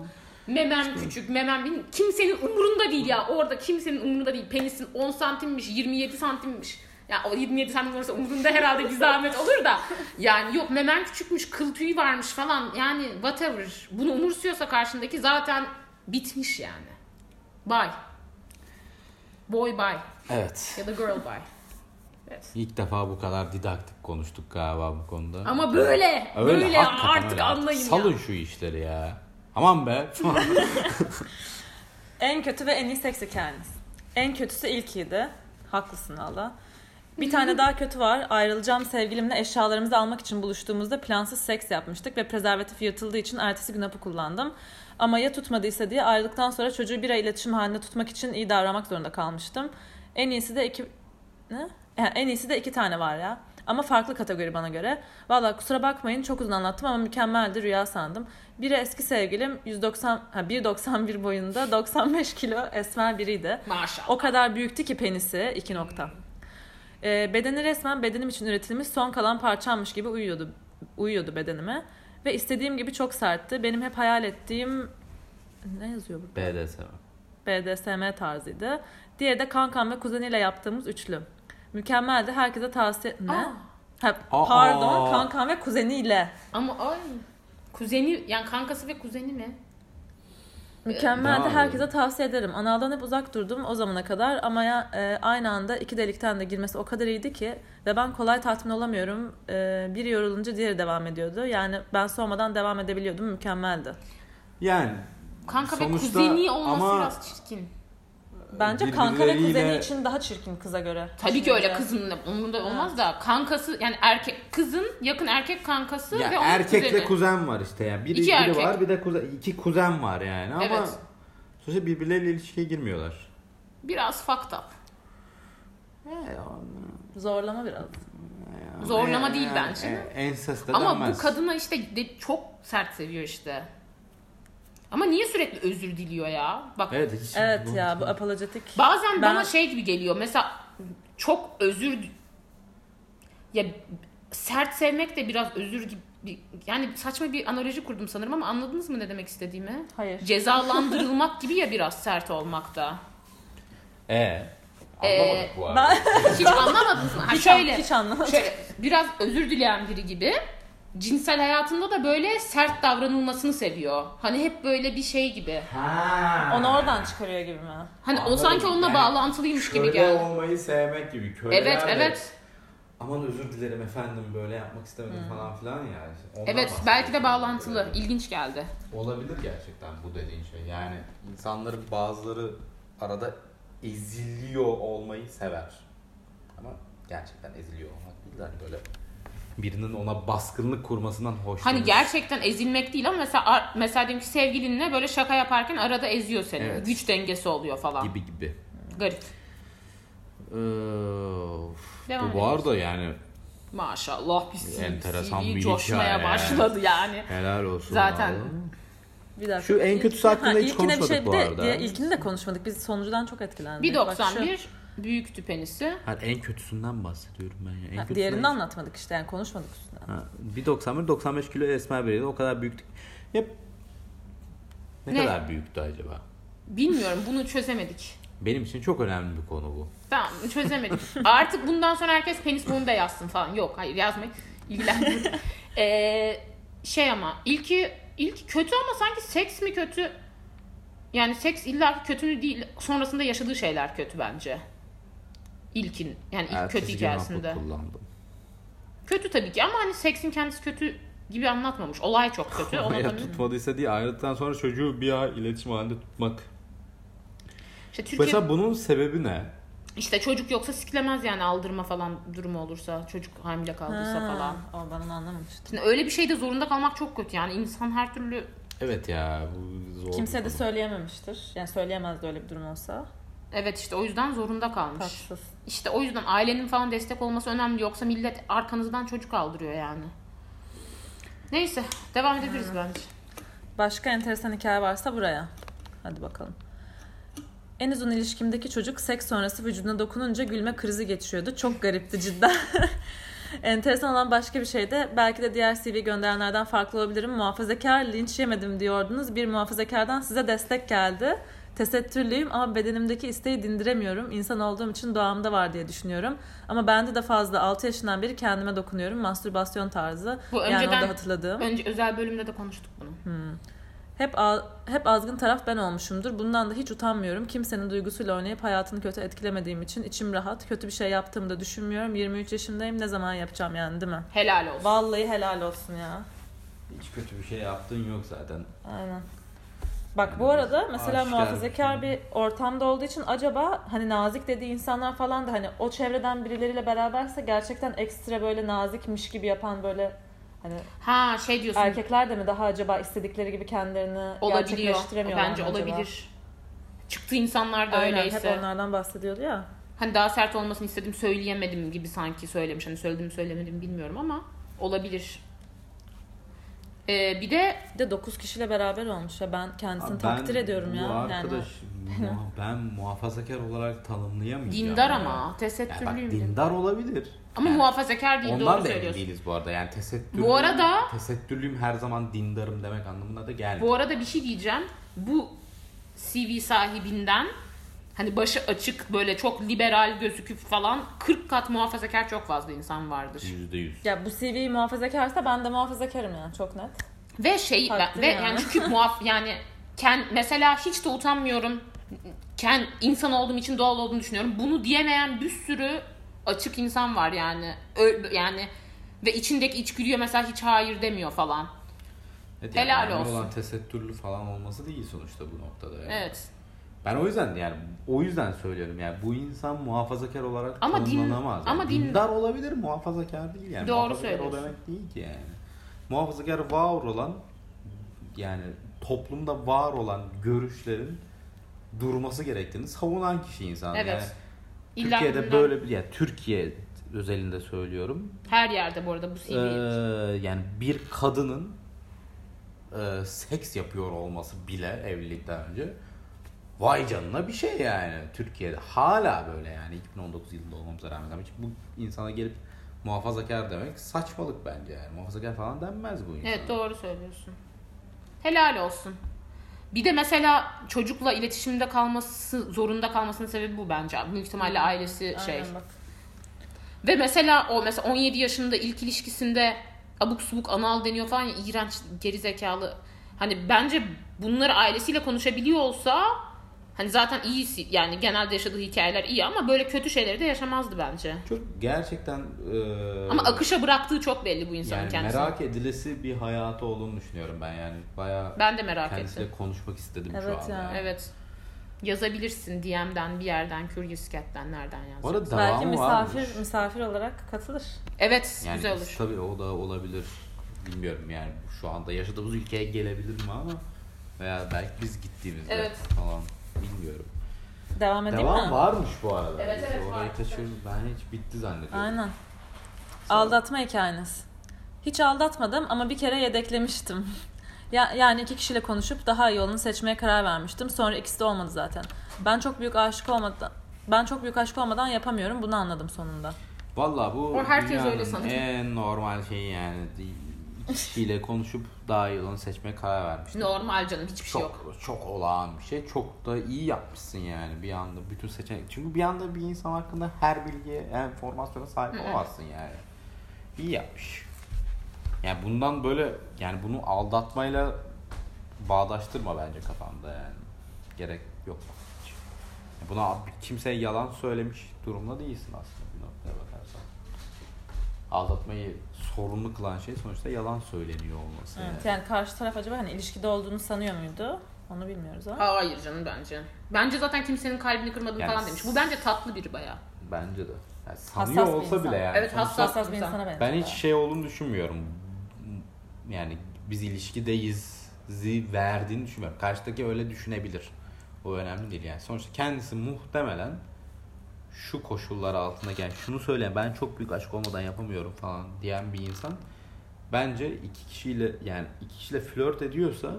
memem küçük, memem bin- kimsenin umurunda değil ya. Orada kimsenin umurunda değil. Penisin 10 santimmiş, 27 santimmiş. Ya o 27 santim olursa umurunda herhalde bir zahmet olur da. Yani yok memem küçükmüş, kıl tüyü varmış falan. Yani whatever. Bunu umursuyorsa karşındaki zaten bitmiş yani. Bye. Boy bye.
Evet.
Ya da girl bye. Evet.
İlk defa bu kadar didaktik konuştuk galiba bu konuda.
Ama böyle, böyle
hakikaten
artık anlayın ya.
Salın şu işleri ya. Aman be.
En kötü ve en iyi seks hikayeniz. En kötüsü ilkiydi. Haklısın valla. Bir tane daha kötü var. Ayrılacağım sevgilimle eşyalarımızı almak için buluştuğumuzda plansız seks yapmıştık ve prezervatif yırtıldığı için ertesi gün hapı kullandım. Ama ya tutmadıysa diye ayrıldıktan sonra çocuğu bir ay iletişim halinde tutmak için iyi davranmak zorunda kalmıştım. En iyisi de iki... Ne? Yani en iyisi de iki tane var ya. Ama farklı kategori bana göre. Valla kusura bakmayın çok uzun anlattım ama mükemmeldi rüya sandım. Biri eski sevgilim 190 ha 1.91 boyunda 95 kilo esmer biriydi.
Maşallah.
O kadar büyüktü ki penisi 2 nokta. Ee, bedeni resmen bedenim için üretilmiş son kalan parçammış gibi uyuyordu uyuyordu bedenime. Ve istediğim gibi çok sertti. Benim hep hayal ettiğim ne yazıyor burada?
BDSM.
BDSM tarzıydı. Diğeri de kankam ve kuzeniyle yaptığımız üçlü. Mükemmeldi. Herkese tavsiye... Ne?
Aa.
Ha,
Aa.
pardon. Kankam ve kuzeniyle.
Ama ay kuzeni yani kankası ve kuzeni ne?
Mükemmeldi.
Bravo.
Herkese tavsiye ederim. Analdan hep uzak durdum o zamana kadar ama ya e, aynı anda iki delikten de girmesi o kadar iyiydi ki ve ben kolay tatmin olamıyorum. E, biri yorulunca diğeri devam ediyordu. Yani ben sormadan devam edebiliyordum. Mükemmeldi.
Yani
Kanka
Sonuçta
ve kuzeni olması
ama-
biraz çirkin.
Bence kanka ve kuzeni
Birbirleriyle-
için daha çirkin kıza göre.
Tabii ki
Düşünce.
öyle kızın onun da olmaz da kankası yani erkek kızın yakın erkek kankası
ya
ve onun
erkekle
kuzeni.
kuzen var işte yani. Biri,
İki
biri
erkek.
var bir de kuzen, iki kuzen var yani ama
Evet.
sonuçta birbirleriyle ilişkiye girmiyorlar.
Biraz fucked up.
Ee,
Zorlama biraz.
Zorlama değil
e,
bence.
Ensest de
Ama
denmez.
bu kadına işte de çok sert seviyor işte. Ama niye sürekli özür diliyor ya? Bak
Evet, hiç
Evet ya bu apolojetik.
Bazen
Ben-
bana şey gibi geliyor. Mesela çok özür ya sert sevmek de biraz özür gibi yani saçma bir analoji kurdum sanırım ama anladınız mı ne demek istediğimi?
Hayır.
Cezalandırılmak gibi ya biraz sert olmak da.
Ee,
Ee,
anlamadık bu arada.
Ben
Hiç anlamadınız mı? Ha,
hiç,
şöyle,
an, hiç anlamadım.
şöyle biraz özür dileyen biri gibi cinsel hayatında da böyle sert davranılmasını seviyor. Hani hep böyle bir şey gibi.
Ha.
Onu oradan çıkarıyor gibi mi?
Hani o
Anladım.
sanki onunla
Yani
bağlantılıymış gibi
Köle
geldi.
olmayı sevmek gibi. Köle
Evet, evet.
Aman özür dilerim efendim böyle yapmak istemedim
Hmm.
falan filan yani. Ondan
Evet
bahsediyorum.
belki de bağlantılı. İlginç geldi.
Olabilir gerçekten bu dediğin şey. Yani insanların bazıları arada eziliyor olmayı sever. Ama gerçekten eziliyor olmak değil de hani böyle birinin ona baskınlık kurmasından hoşlanır.
Hani gerçekten ezilmek değil ama mesela ar- mesela diyelim ki sevgilinle böyle şaka yaparken arada eziyor seni.
Evet.
Güç dengesi oluyor falan.
gibi gibi.
Garip.
Ee, of.
Devam
bu var da yani
Maşallah bir CV,
Enteresan bir
coşmaya
hikaye.
başladı yani.
helal olsun.
Zaten.
vallahi.
Bir dakika.
Şu en kötüsü hakkında hiç
ilkine bir şey
konuşmadık bu
de-
arada.
diye- ilkini de konuşmadık. Biz sonucudan çok etkilendik. Bak şu-
1.91 büyük tüpenisi.
Hani en kötüsünden bahsediyorum ben. ya. En
Ha,
kötüsünden-
diğerini anlatmadık işte yani konuşmadık üstüne.
Ha, 1.91 95 kilo esmer biriydi. O kadar büyüktü. Hep ne,
Ne?
kadar büyüktü acaba?
Bilmiyorum bunu çözemedik.
Benim için çok önemli bir konu bu.
Tamam çözemedik. Artık bundan sonra herkes penis boyunu da yazsın falan. Yok hayır yazmayın. İlgilenmiyorum. Ee, şey ama ilki ilk kötü ama sanki seks mi kötü? Yani seks illa ki kötü değil. Sonrasında yaşadığı şeyler kötü bence. İlkin yani ilk
Ertesi
kötü
gün
hikayesinde.
hapı kullandım.
Kötü tabii ki ama hani seksin kendisi kötü gibi anlatmamış. Olay çok kötü. Ona
Ya
tabii-
tutmadıysa diye ayrıldıktan sonra çocuğu bir ay iletişim halinde tutmak.
İşte Türkiye
Mesela bunun sebebi ne?
işte çocuk yoksa siklemez yani aldırma falan durumu olursa. Çocuk hamile kaldıysa
Ha,
falan.
O ben onu anlamamıştım.
Şimdi öyle bir şeyde zorunda kalmak çok kötü yani insan her türlü
Evet ya bu zor. bir
Kimse de
konu.
söyleyememiştir. Yani söyleyemezdi öyle bir durum olsa.
Evet işte o yüzden zorunda kalmış.
Tatsız.
İşte o yüzden ailenin falan destek olması önemli. Yoksa millet arkanızdan çocuk aldırıyor yani. Neyse devam edebiliriz bence.
Başka enteresan hikaye varsa buraya. Hadi bakalım. En uzun ilişkimdeki çocuk seks sonrası vücuduna dokununca gülme krizi geçiriyordu. Çok garipti cidden. enteresan olan başka bir şey de belki de diğer CV gönderenlerden farklı olabilirim. Muhafazakar linç yemedim diyordunuz. Bir muhafazakardan size destek geldi. Tesettürlüyüm ama bedenimdeki isteği dindiremiyorum. İnsan olduğum için doğamda var diye düşünüyorum. Ama bende de fazla 6 yaşından beri kendime dokunuyorum. Mastürbasyon tarzı.
Bu
yani o
önceden-
da hatırladığım.
Önce özel bölümde de konuştuk bunu.
Hep a- hep azgın taraf ben olmuşumdur. Bundan da hiç utanmıyorum. Kimsenin duygusuyla oynayıp hayatını kötü etkilemediğim için içim rahat. Kötü bir şey yaptığımı da düşünmüyorum. 23 yaşındayım. Ne zaman yapacağım yani değil mi?
Helal olsun.
Vallahi helal olsun ya.
Hiç kötü bir şey yaptığın yok zaten.
Aynen. Bak bu arada mesela
Aşikar.
muhafazakar bir ortamda olduğu için acaba hani nazik dediği insanlar falan da hani o çevreden birileriyle beraberse gerçekten ekstra böyle nazikmiş gibi yapan böyle hani
Ha şey diyorsun.
erkekler de mi daha acaba istedikleri gibi kendilerini
olabiliyor.
gerçekleştiremiyorlar
Bence
mı acaba?
olabilir. Çıktı insanlar da
Aynen,
öyleyse.
Hep onlardan bahsediyordu ya.
Hani daha sert olmasını istedim söyleyemedim gibi sanki söylemiş. Hani söyledim söylemedim bilmiyorum ama olabilir. Ee, bir de
Bir de 9 kişiyle beraber olmuş ya ben kendisini
Abi ben
takdir ediyorum
bu
ya. Yani
arkadaş muha- ben muhafazakar olarak tanımlayamayacağım.
dindar
ya.
ama
Ya bak
tesettürlüyüm. dedim.
dindar olabilir.
ama
Yani
muhafazakar değil
Ondan
doğru
da emin
söylüyorsun.
değiliz bu arada. Yani tesettürlü,
Bu arada-
tesettürlüyüm her zaman dindarım demek anlamına da gelmiyor.
Bu arada bir şey diyeceğim. Bu CV sahibinden hani başı açık böyle çok liberal gözüküp falan 40 kat muhafazakar çok fazla insan vardır.
Yüzde yüz.
ya bu CV muhafazakarsa ben de muhafazakarım yani çok net.
Hmm.
Ve şey ben-
Haklı
ve
yani.
yani çünkü muaf yani ken mesela hiç de utanmıyorum. Ken insan olduğum için doğal olduğunu düşünüyorum. Bunu diyemeyen bir sürü açık insan var yani. Ö- yani ve içindeki içgüdüye mesela hiç hayır demiyor falan.
Evet,
Helal
önemli
olsun.
olan tesettürlü falan olması değil sonuçta bu noktada. Yani.
Evet.
Ben o yüzden yani o yüzden söylüyorum yani bu insan muhafazakar olarak
Ama din-
tanımlanamaz.
ama
yani.
din-
dindar olabilir muhafazakar değil yani.
Doğru
muhafazakar o
söylüyorsun.
demek değil ki yani. Muhafazakar var olan yani toplumda var olan görüşlerin durması gerektiğini savunan kişi insan.
Evet.
Yani
İlla
Türkiye'de
bundan-
böyle bir yani Türkiye özelinde söylüyorum.
her yerde bu arada bu CV.
Ee, yani bir kadının e, seks yapıyor olması bile evlilikten önce vay canına bir şey yani Türkiye'de hala böyle yani 2019 yılında olmamıza rağmen ama hiç bu insana gelip muhafazakar demek saçmalık bence yani muhafazakar falan denmez bu insana.
Evet doğru söylüyorsun. Helal olsun. Bir de mesela çocukla iletişimde kalması zorunda kalmasının sebebi bu bence. Büyük ihtimalle ailesi şey.
Aynen bak.
Ve mesela o mesela 17 yaşında ilk ilişkisinde abuk subuk anal deniyor falan ya, iğrenç gerizekalı. Hani bence bunları ailesiyle konuşabiliyor olsa hani zaten iyisi yani genelde yaşadığı hikayeler iyi ama böyle kötü şeyleri de yaşamazdı bence.
Çok gerçekten e,
Ama akışa bıraktığı çok belli bu insanın
yani
kendisi.
merak edilesi bir hayatı olduğunu düşünüyorum ben yani bayağı
Ben de merak
kendisiyle
ettim.
konuşmak istedim
Evet
şu anda.
yani.
yani.
Evet. Yazabilirsin DM'den bir yerden Curious Cat'ten nereden
Bu
yazacaksın.
arada
Belki
devamı
misafir
varmış.
misafir olarak katılır.
Evet
Yani
güzel olur.
Tabii o da olabilir. Bilmiyorum yani şu anda yaşadığımız ülkeye gelebilir mi ama veya belki biz gittiğimizde
Evet.
falan bilmiyorum.
Devam edeyim
Devam
mi?
varmış bu arada.
Evet,
Biz
evet,
Orayı
var.
kaçırdım. Ben hiç bitti zannediyorum.
Aynen. Aldatma hikayeniz. Hiç aldatmadım ama bir kere yedeklemiştim. Ya, yani iki kişiyle konuşup daha iyi olanı seçmeye karar vermiştim. Sonra ikisi de olmadı zaten. Ben çok büyük aşık olmadan ben çok büyük aşık olmadan yapamıyorum. Bunu anladım sonunda.
Valla bu
O herkes
dünyanın
öyle sanıyor.
en normal şey yani. İkisiyle konuşup daha iyi olanı seçmeye karar vermiştim.
Normal canım hiçbir şey
çok,
yok.
Çok olağan bir şey. Çok da iyi yapmışsın yani bir anda bütün seçenek. Çünkü bir anda bir insan hakkında her bilgiye, enformasyona sahip olamazsın yani. İyi yapmış. Yani bundan böyle yani bunu aldatmayla bağdaştırma bence kafanda yani. Gerek yok. hiç. Buna kimseye yalan söylemiş durumda değilsin aslında bir noktaya bakarsan. Aldatmayı sorunlu kılan şey sonuçta yalan söyleniyor olması. yani.
Evet, yani karşı taraf acaba hani ilişkide olduğunu sanıyor muydu? Onu bilmiyoruz ama.
Hayır canım bence. Bence zaten kimsenin kalbini kırmadım
Yani
falan demiş. Bu bence tatlı biri bayağı.
Bence de. Yani sanıyor
bir
olsa
insan.
bile yani.
Evet,
Sonuçta
hassas.
Hassas bir insana benziyor.
Ben hiç şey olduğunu düşünmüyorum. Yani biz ilişkideyiz verdiğini düşünmüyorum. Karşıdaki öyle düşünebilir. O önemli değil yani. Sonuçta kendisi muhtemelen şu koşullar altında yani şunu söyle ben çok büyük aşk olmadan yapamıyorum falan diyen bir insan bence iki kişiyle yani iki kişiyle flört ediyorsa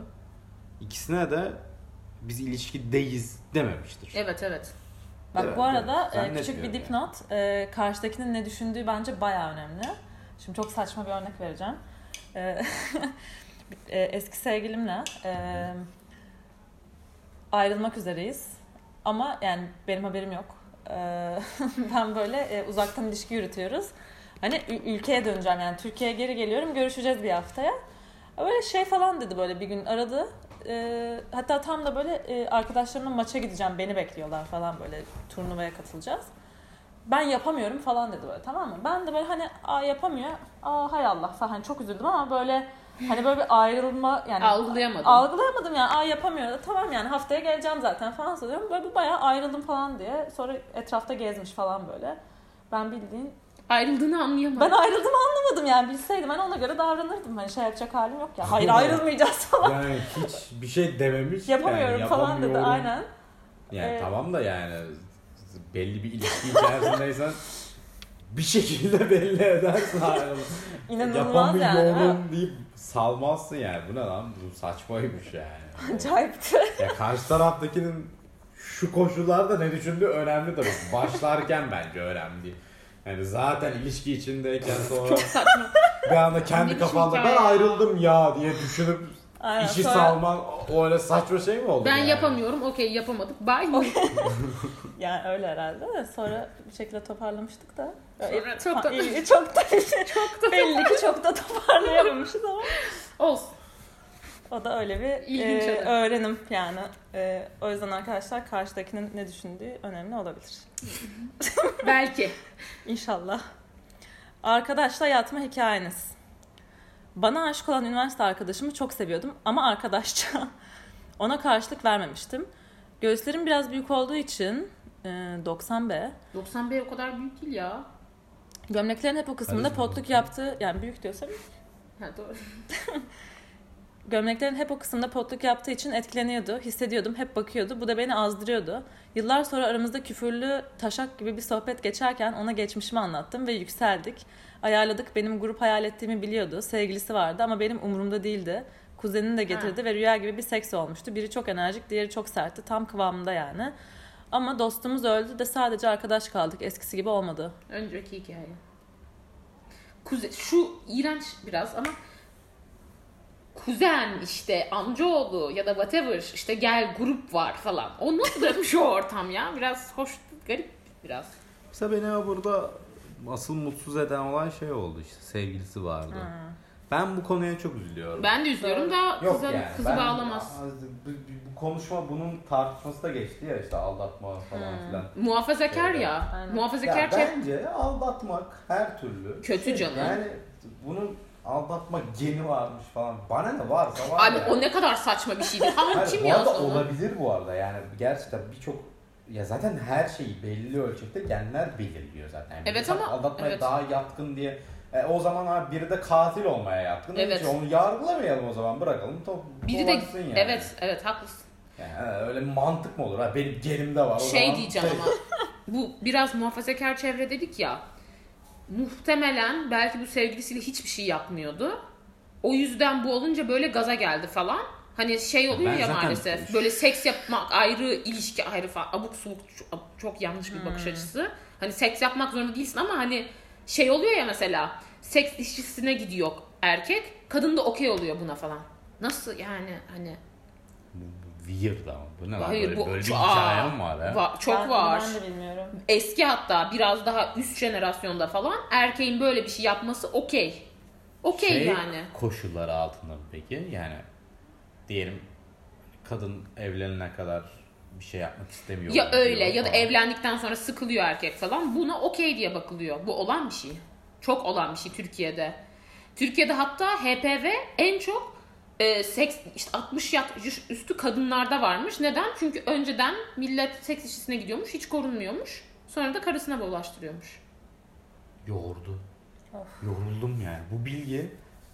ikisine de biz ilişkideyiz dememiştir.
Evet evet.
Bak
Evet,
bu arada
evet.
e, küçük
Zannetmiyorum
bir
yani.
dipnot. E, karşıdakinin ne düşündüğü bence bayağı önemli. Şimdi çok saçma bir örnek vereceğim. E, e, eski sevgilimle e, ayrılmak üzereyiz. Ama yani benim haberim yok. E, ben böyle e, uzaktan ilişki yürütüyoruz. Hani ü- ülkeye döneceğim yani Türkiye'ye geri geliyorum görüşeceğiz bir haftaya. Böyle şey falan dedi böyle bir gün aradı. Ee, hatta tam da böyle e, arkadaşlarımla maça gideceğim beni bekliyorlar falan böyle turnuvaya katılacağız. Ben yapamıyorum falan dedi böyle tamam mı? Ben de böyle hani aa yapamıyor. Aa hay Allah falan hani çok üzüldüm ama böyle hani böyle bir ayrılma yani
Algılayamadım.
algılayamadım yani. Aa yapamıyor da tamam yani haftaya geleceğim zaten falan söylüyorum. Böyle bir bayağı ayrıldım falan diye. Sonra etrafta gezmiş falan böyle. Ben bildiğin
Ayrıldığını anlayamadım.
ben ayrıldım anlamadım yani bilseydim ben ona göre davranırdım. Hani şey yapacak halim yok ya. Hayır ayrılmayacağız falan.
Yani hiç bir şey dememiş.
yapamıyorum
yani,
falan dedi
yapamıyorum.
aynen.
Yani
Evet.
tamam da yani belli bir ilişki içerisindeysen bir şekilde belli edersin ayrılığı.
İnanılmaz yani. ha.
Yapamıyorum deyip salmazsın yani. Bu ne lan? Bu saçmaymış yani.
Acayipti.
ya karşı taraftakinin şu koşullarda ne düşündüğü önemli tabii. Başlarken bence önemli değil. Yani zaten ilişki içindeyken sonra
Çok saçma.
bir anda kendi
Ne biçim
kafanda
hikaye
ben
ya?"
ayrıldım ya diye düşünüp
Aynen,
işi
sonra-
salman o öyle saçma şey mi oldu?
ben
yani?
yapamıyorum. Okey yapamadık. Bye.
Yani öyle herhalde de sonra bir şekilde toparlamıştık da.
Sonra çok da-
Ha, iyi, çok da çok da belli ki çok da toparlayamamışız ama
Olsun.
o da öyle bir
İlginç
e,
adam.
öğrenim yani. E, o yüzden arkadaşlar karşıdakinin ne düşündüğü önemli olabilir.
Belki.
İnşallah. Arkadaşla yatma hikayeniz. Bana aşık olan üniversite arkadaşımı çok seviyordum ama arkadaşça. Ona karşılık vermemiştim. Göğüslerim biraz büyük olduğu için e, 90B.
91 o kadar büyük değil ya.
Gömleklerin hep o kısmında
Karizma.
potluk yaptığı, yani büyük diyorsam
Ha, doğru.
Gömleklerin hep o kısımda potluk yaptığı için etkileniyordu. Hissediyordum, hep bakıyordu. Bu da beni azdırıyordu. Yıllar sonra aramızda küfürlü taşak gibi bir sohbet geçerken ona geçmişimi anlattım ve yükseldik. Ayarladık. Benim grup hayal ettiğimi biliyordu. Sevgilisi vardı ama benim umurumda değildi. Kuzenini de getirdi ve rüya gibi bir seks olmuştu. Biri çok enerjik, diğeri çok sertti. Tam kıvamında yani. Ama dostumuz öldü de sadece arkadaş kaldık. Eskisi gibi olmadı.
Önceki hikaye. Kuze, şu iğrenç biraz ama kuzen işte amcaoğlu ya da whatever işte gel grup var falan. O nasıl dönmüş o ortam ya? Biraz hoş garip biraz.
Mesela beni ama burada asıl mutsuz eden olan şey oldu işte sevgilisi vardı. Ben bu konuya çok üzülüyorum.
Ben de üzülüyorum da
Yok
kıza,
yani,
kızı
ben-
bağlamaz.
az- bu- bu- Bu konuşma bunun tartışması da geçti ya işte aldatma falan filan.
Muhafazakar ya.
Aynen.
Muhafazakar şey-
Ya
çev-
bence aldatmak her türlü.
Kötü canım.
Yani bunun aldatma geni varmış falan. Bana ne varsa var
Abi
ya.
o ne kadar saçma bir şeydi. Ama
Hayır,
kim
bu arada
yazdı onu?
olabilir bu arada yani gerçekten birçok ya zaten her şeyi belli ölçekte genler belirliyor zaten. Yani
Evet
insan
ama-
aldatmaya
evet.
daha yatkın diye e, o zaman abi biri de katil olmaya yatkın.
Evet.
Evet. Onu yargılamayalım o zaman bırakalım. Top,
Biri de
dolansın yani.
evet evet haklısın.
Yani öyle mantık mı olur? Ha, benim gelimde var. O
Şey
zaman
diyeceğim ama bu biraz muhafazakar çevre dedik ya. Muhtemelen belki bu sevgilisiyle hiçbir şey yapmıyordu. O yüzden bu olunca böyle gaza geldi falan. Hani şey oluyor
Ben
ya
zaten-
maalesef. Böyle seks yapmak ayrı, ilişki ayrı falan. Abuk subuk çok, çok yanlış bir
Hmm.
bakış açısı. Hani seks yapmak zorunda değilsin ama hani şey oluyor ya mesela. Seks işçisine gidiyor erkek. Kadın da okey oluyor buna falan. Nasıl yani hani
Weird ama bu ne lan
Hayır,
böyle,
bu-
böyle bir
Aa,
hikayem var ya.
va- çok
Ben-
var.
Ben de bilmiyorum.
Eski hatta biraz daha üst jenerasyonda falan erkeğin böyle bir şey yapması okey. Okey
şey
yani.
koşulları altında mı peki? Yani diyelim kadın evlenene kadar bir şey yapmak istemiyor.
Ya
diyor
öyle ya da
falan.
evlendikten sonra sıkılıyor erkek falan. Buna okey diye bakılıyor. Bu olan bir şey. Çok olan bir şey Türkiye'de. Türkiye'de hatta HPV en çok e, seks işte 60 yaş üstü kadınlarda varmış. Neden? Çünkü önceden millet seks işçisine gidiyormuş, hiç korunmuyormuş. Sonra da karısına bulaştırıyormuş.
Yordu. Yoruldum yani. Bu bilgi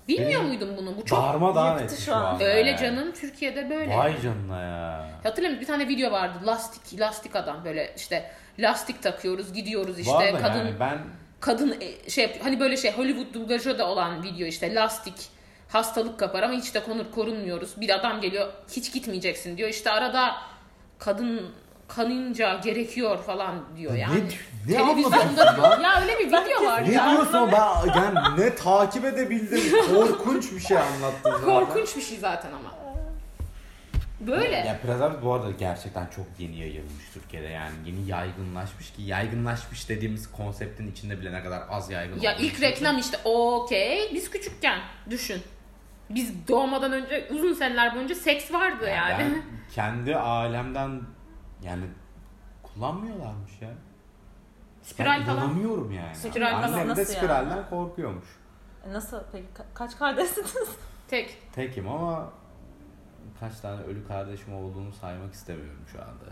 Bilmiyor
Benim-
muydun bunu? Bu çok
Darmadağın
yıktı
etti
şu
şu
an.
an.
öyle canım Türkiye'de böyle.
Ee. Vay canına ya.
Hatırlıyor musun? Bir tane video vardı. Lastik, lastik adam böyle işte lastik takıyoruz, gidiyoruz işte
Var da
kadın
yani ben
kadın e, şey yapıyor. hani böyle şey Hollywood dublajı da olan video işte lastik hastalık kapar ama hiç de konur korunmuyoruz. Bir adam geliyor hiç gitmeyeceksin diyor. İşte arada kadın kanınca gerekiyor falan diyor yani.
ne, ne anlatıyorsun
Televizyonda
lan?
ya öyle bir video var.
Ne
ya.
diyorsun ben yani ne takip edebildim korkunç bir şey anlattın zaten.
Korkunç bir şey zaten ama. Böyle.
Ya Prens Ahmet bu arada gerçekten çok yeni yayılmış Türkiye'de yani yeni yaygınlaşmış ki yaygınlaşmış dediğimiz konseptin içinde bile ne kadar az yaygın
Ya
olduğunu
ilk reklam işte okey biz küçükken düşün. Biz doğmadan önce uzun seneler boyunca seks vardı
Yani
yani.
Ben kendi alemden yani kullanmıyorlarmış ya.
Spiral
ben
falan.
inanamıyorum yani.
Spiral
Annem
falan
de
nasıl yani?
spiralden korkuyormuş.
E, Nasıl peki Ka- kaç kardeşsiniz?
Tek.
Tekim ama kaç tane ölü kardeşim olduğunu saymak istemiyorum şu anda.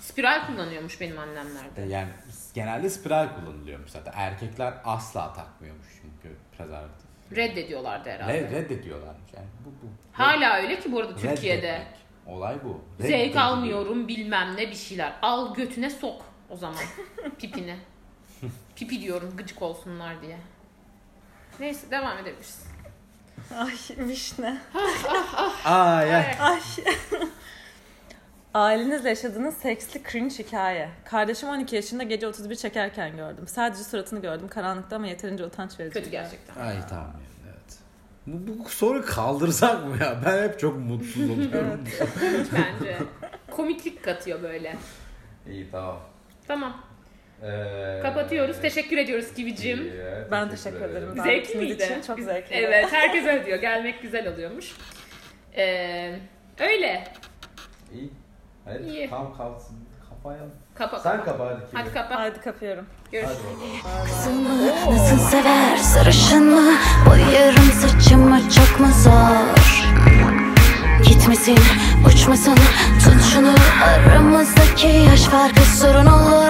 Spiral kullanıyormuş benim annemler de.
De E, Yani genelde spiral kullanılıyormuş zaten. Erkekler asla takmıyormuş çünkü prezervatif.
Reddediyorlardı herhalde.
Re- reddediyorlarmış yani. Bu, bu.
Hala öyle ki bu arada
Reddetmek.
Türkiye'de.
Olay bu.
Zevk
Reddediliyor.
almıyorum bilmem ne bir şeyler. Al götüne sok o zaman pipini. Pipi diyorum gıcık olsunlar diye. Neyse devam edebiliriz.
Ay vişne.
Ay ay.
Ailenizle yaşadığınız seksli cringe hikaye. Kardeşim 12 yaşında gece 31 çekerken gördüm. Sadece suratını gördüm karanlıkta ama yeterince utanç verici.
Kötü gerçekten.
Ay tamam yani, evet. Bu, bu soru kaldırsak mı ya? Ben hep çok mutsuz oluyorum.
Hiç bence. Komiklik katıyor böyle.
İyi tamam.
Tamam.
Ee,
Kapatıyoruz. Teşekkür ediyoruz Kivicim.
iyi,
Ben teşekkür ederim.
Zevkli
Davetiniz
miydi?
için çok
Biz-
zevkli.
Evet herkes öyle diyor. Gelmek güzel oluyormuş. Ee, öyle.
İyi. Hadi
İyi.
tam kalsın. Kafaya.
Kapa.
Sen kapa hadi.
Hadi kapa.
Haydi kapıyorum.
Görüşürüz.
Nasıl sever sarışın mı Boyarım saçımı çok mu zor Gitmesin uçmasın tut şunu Aramızdaki yaş farkı sorun olur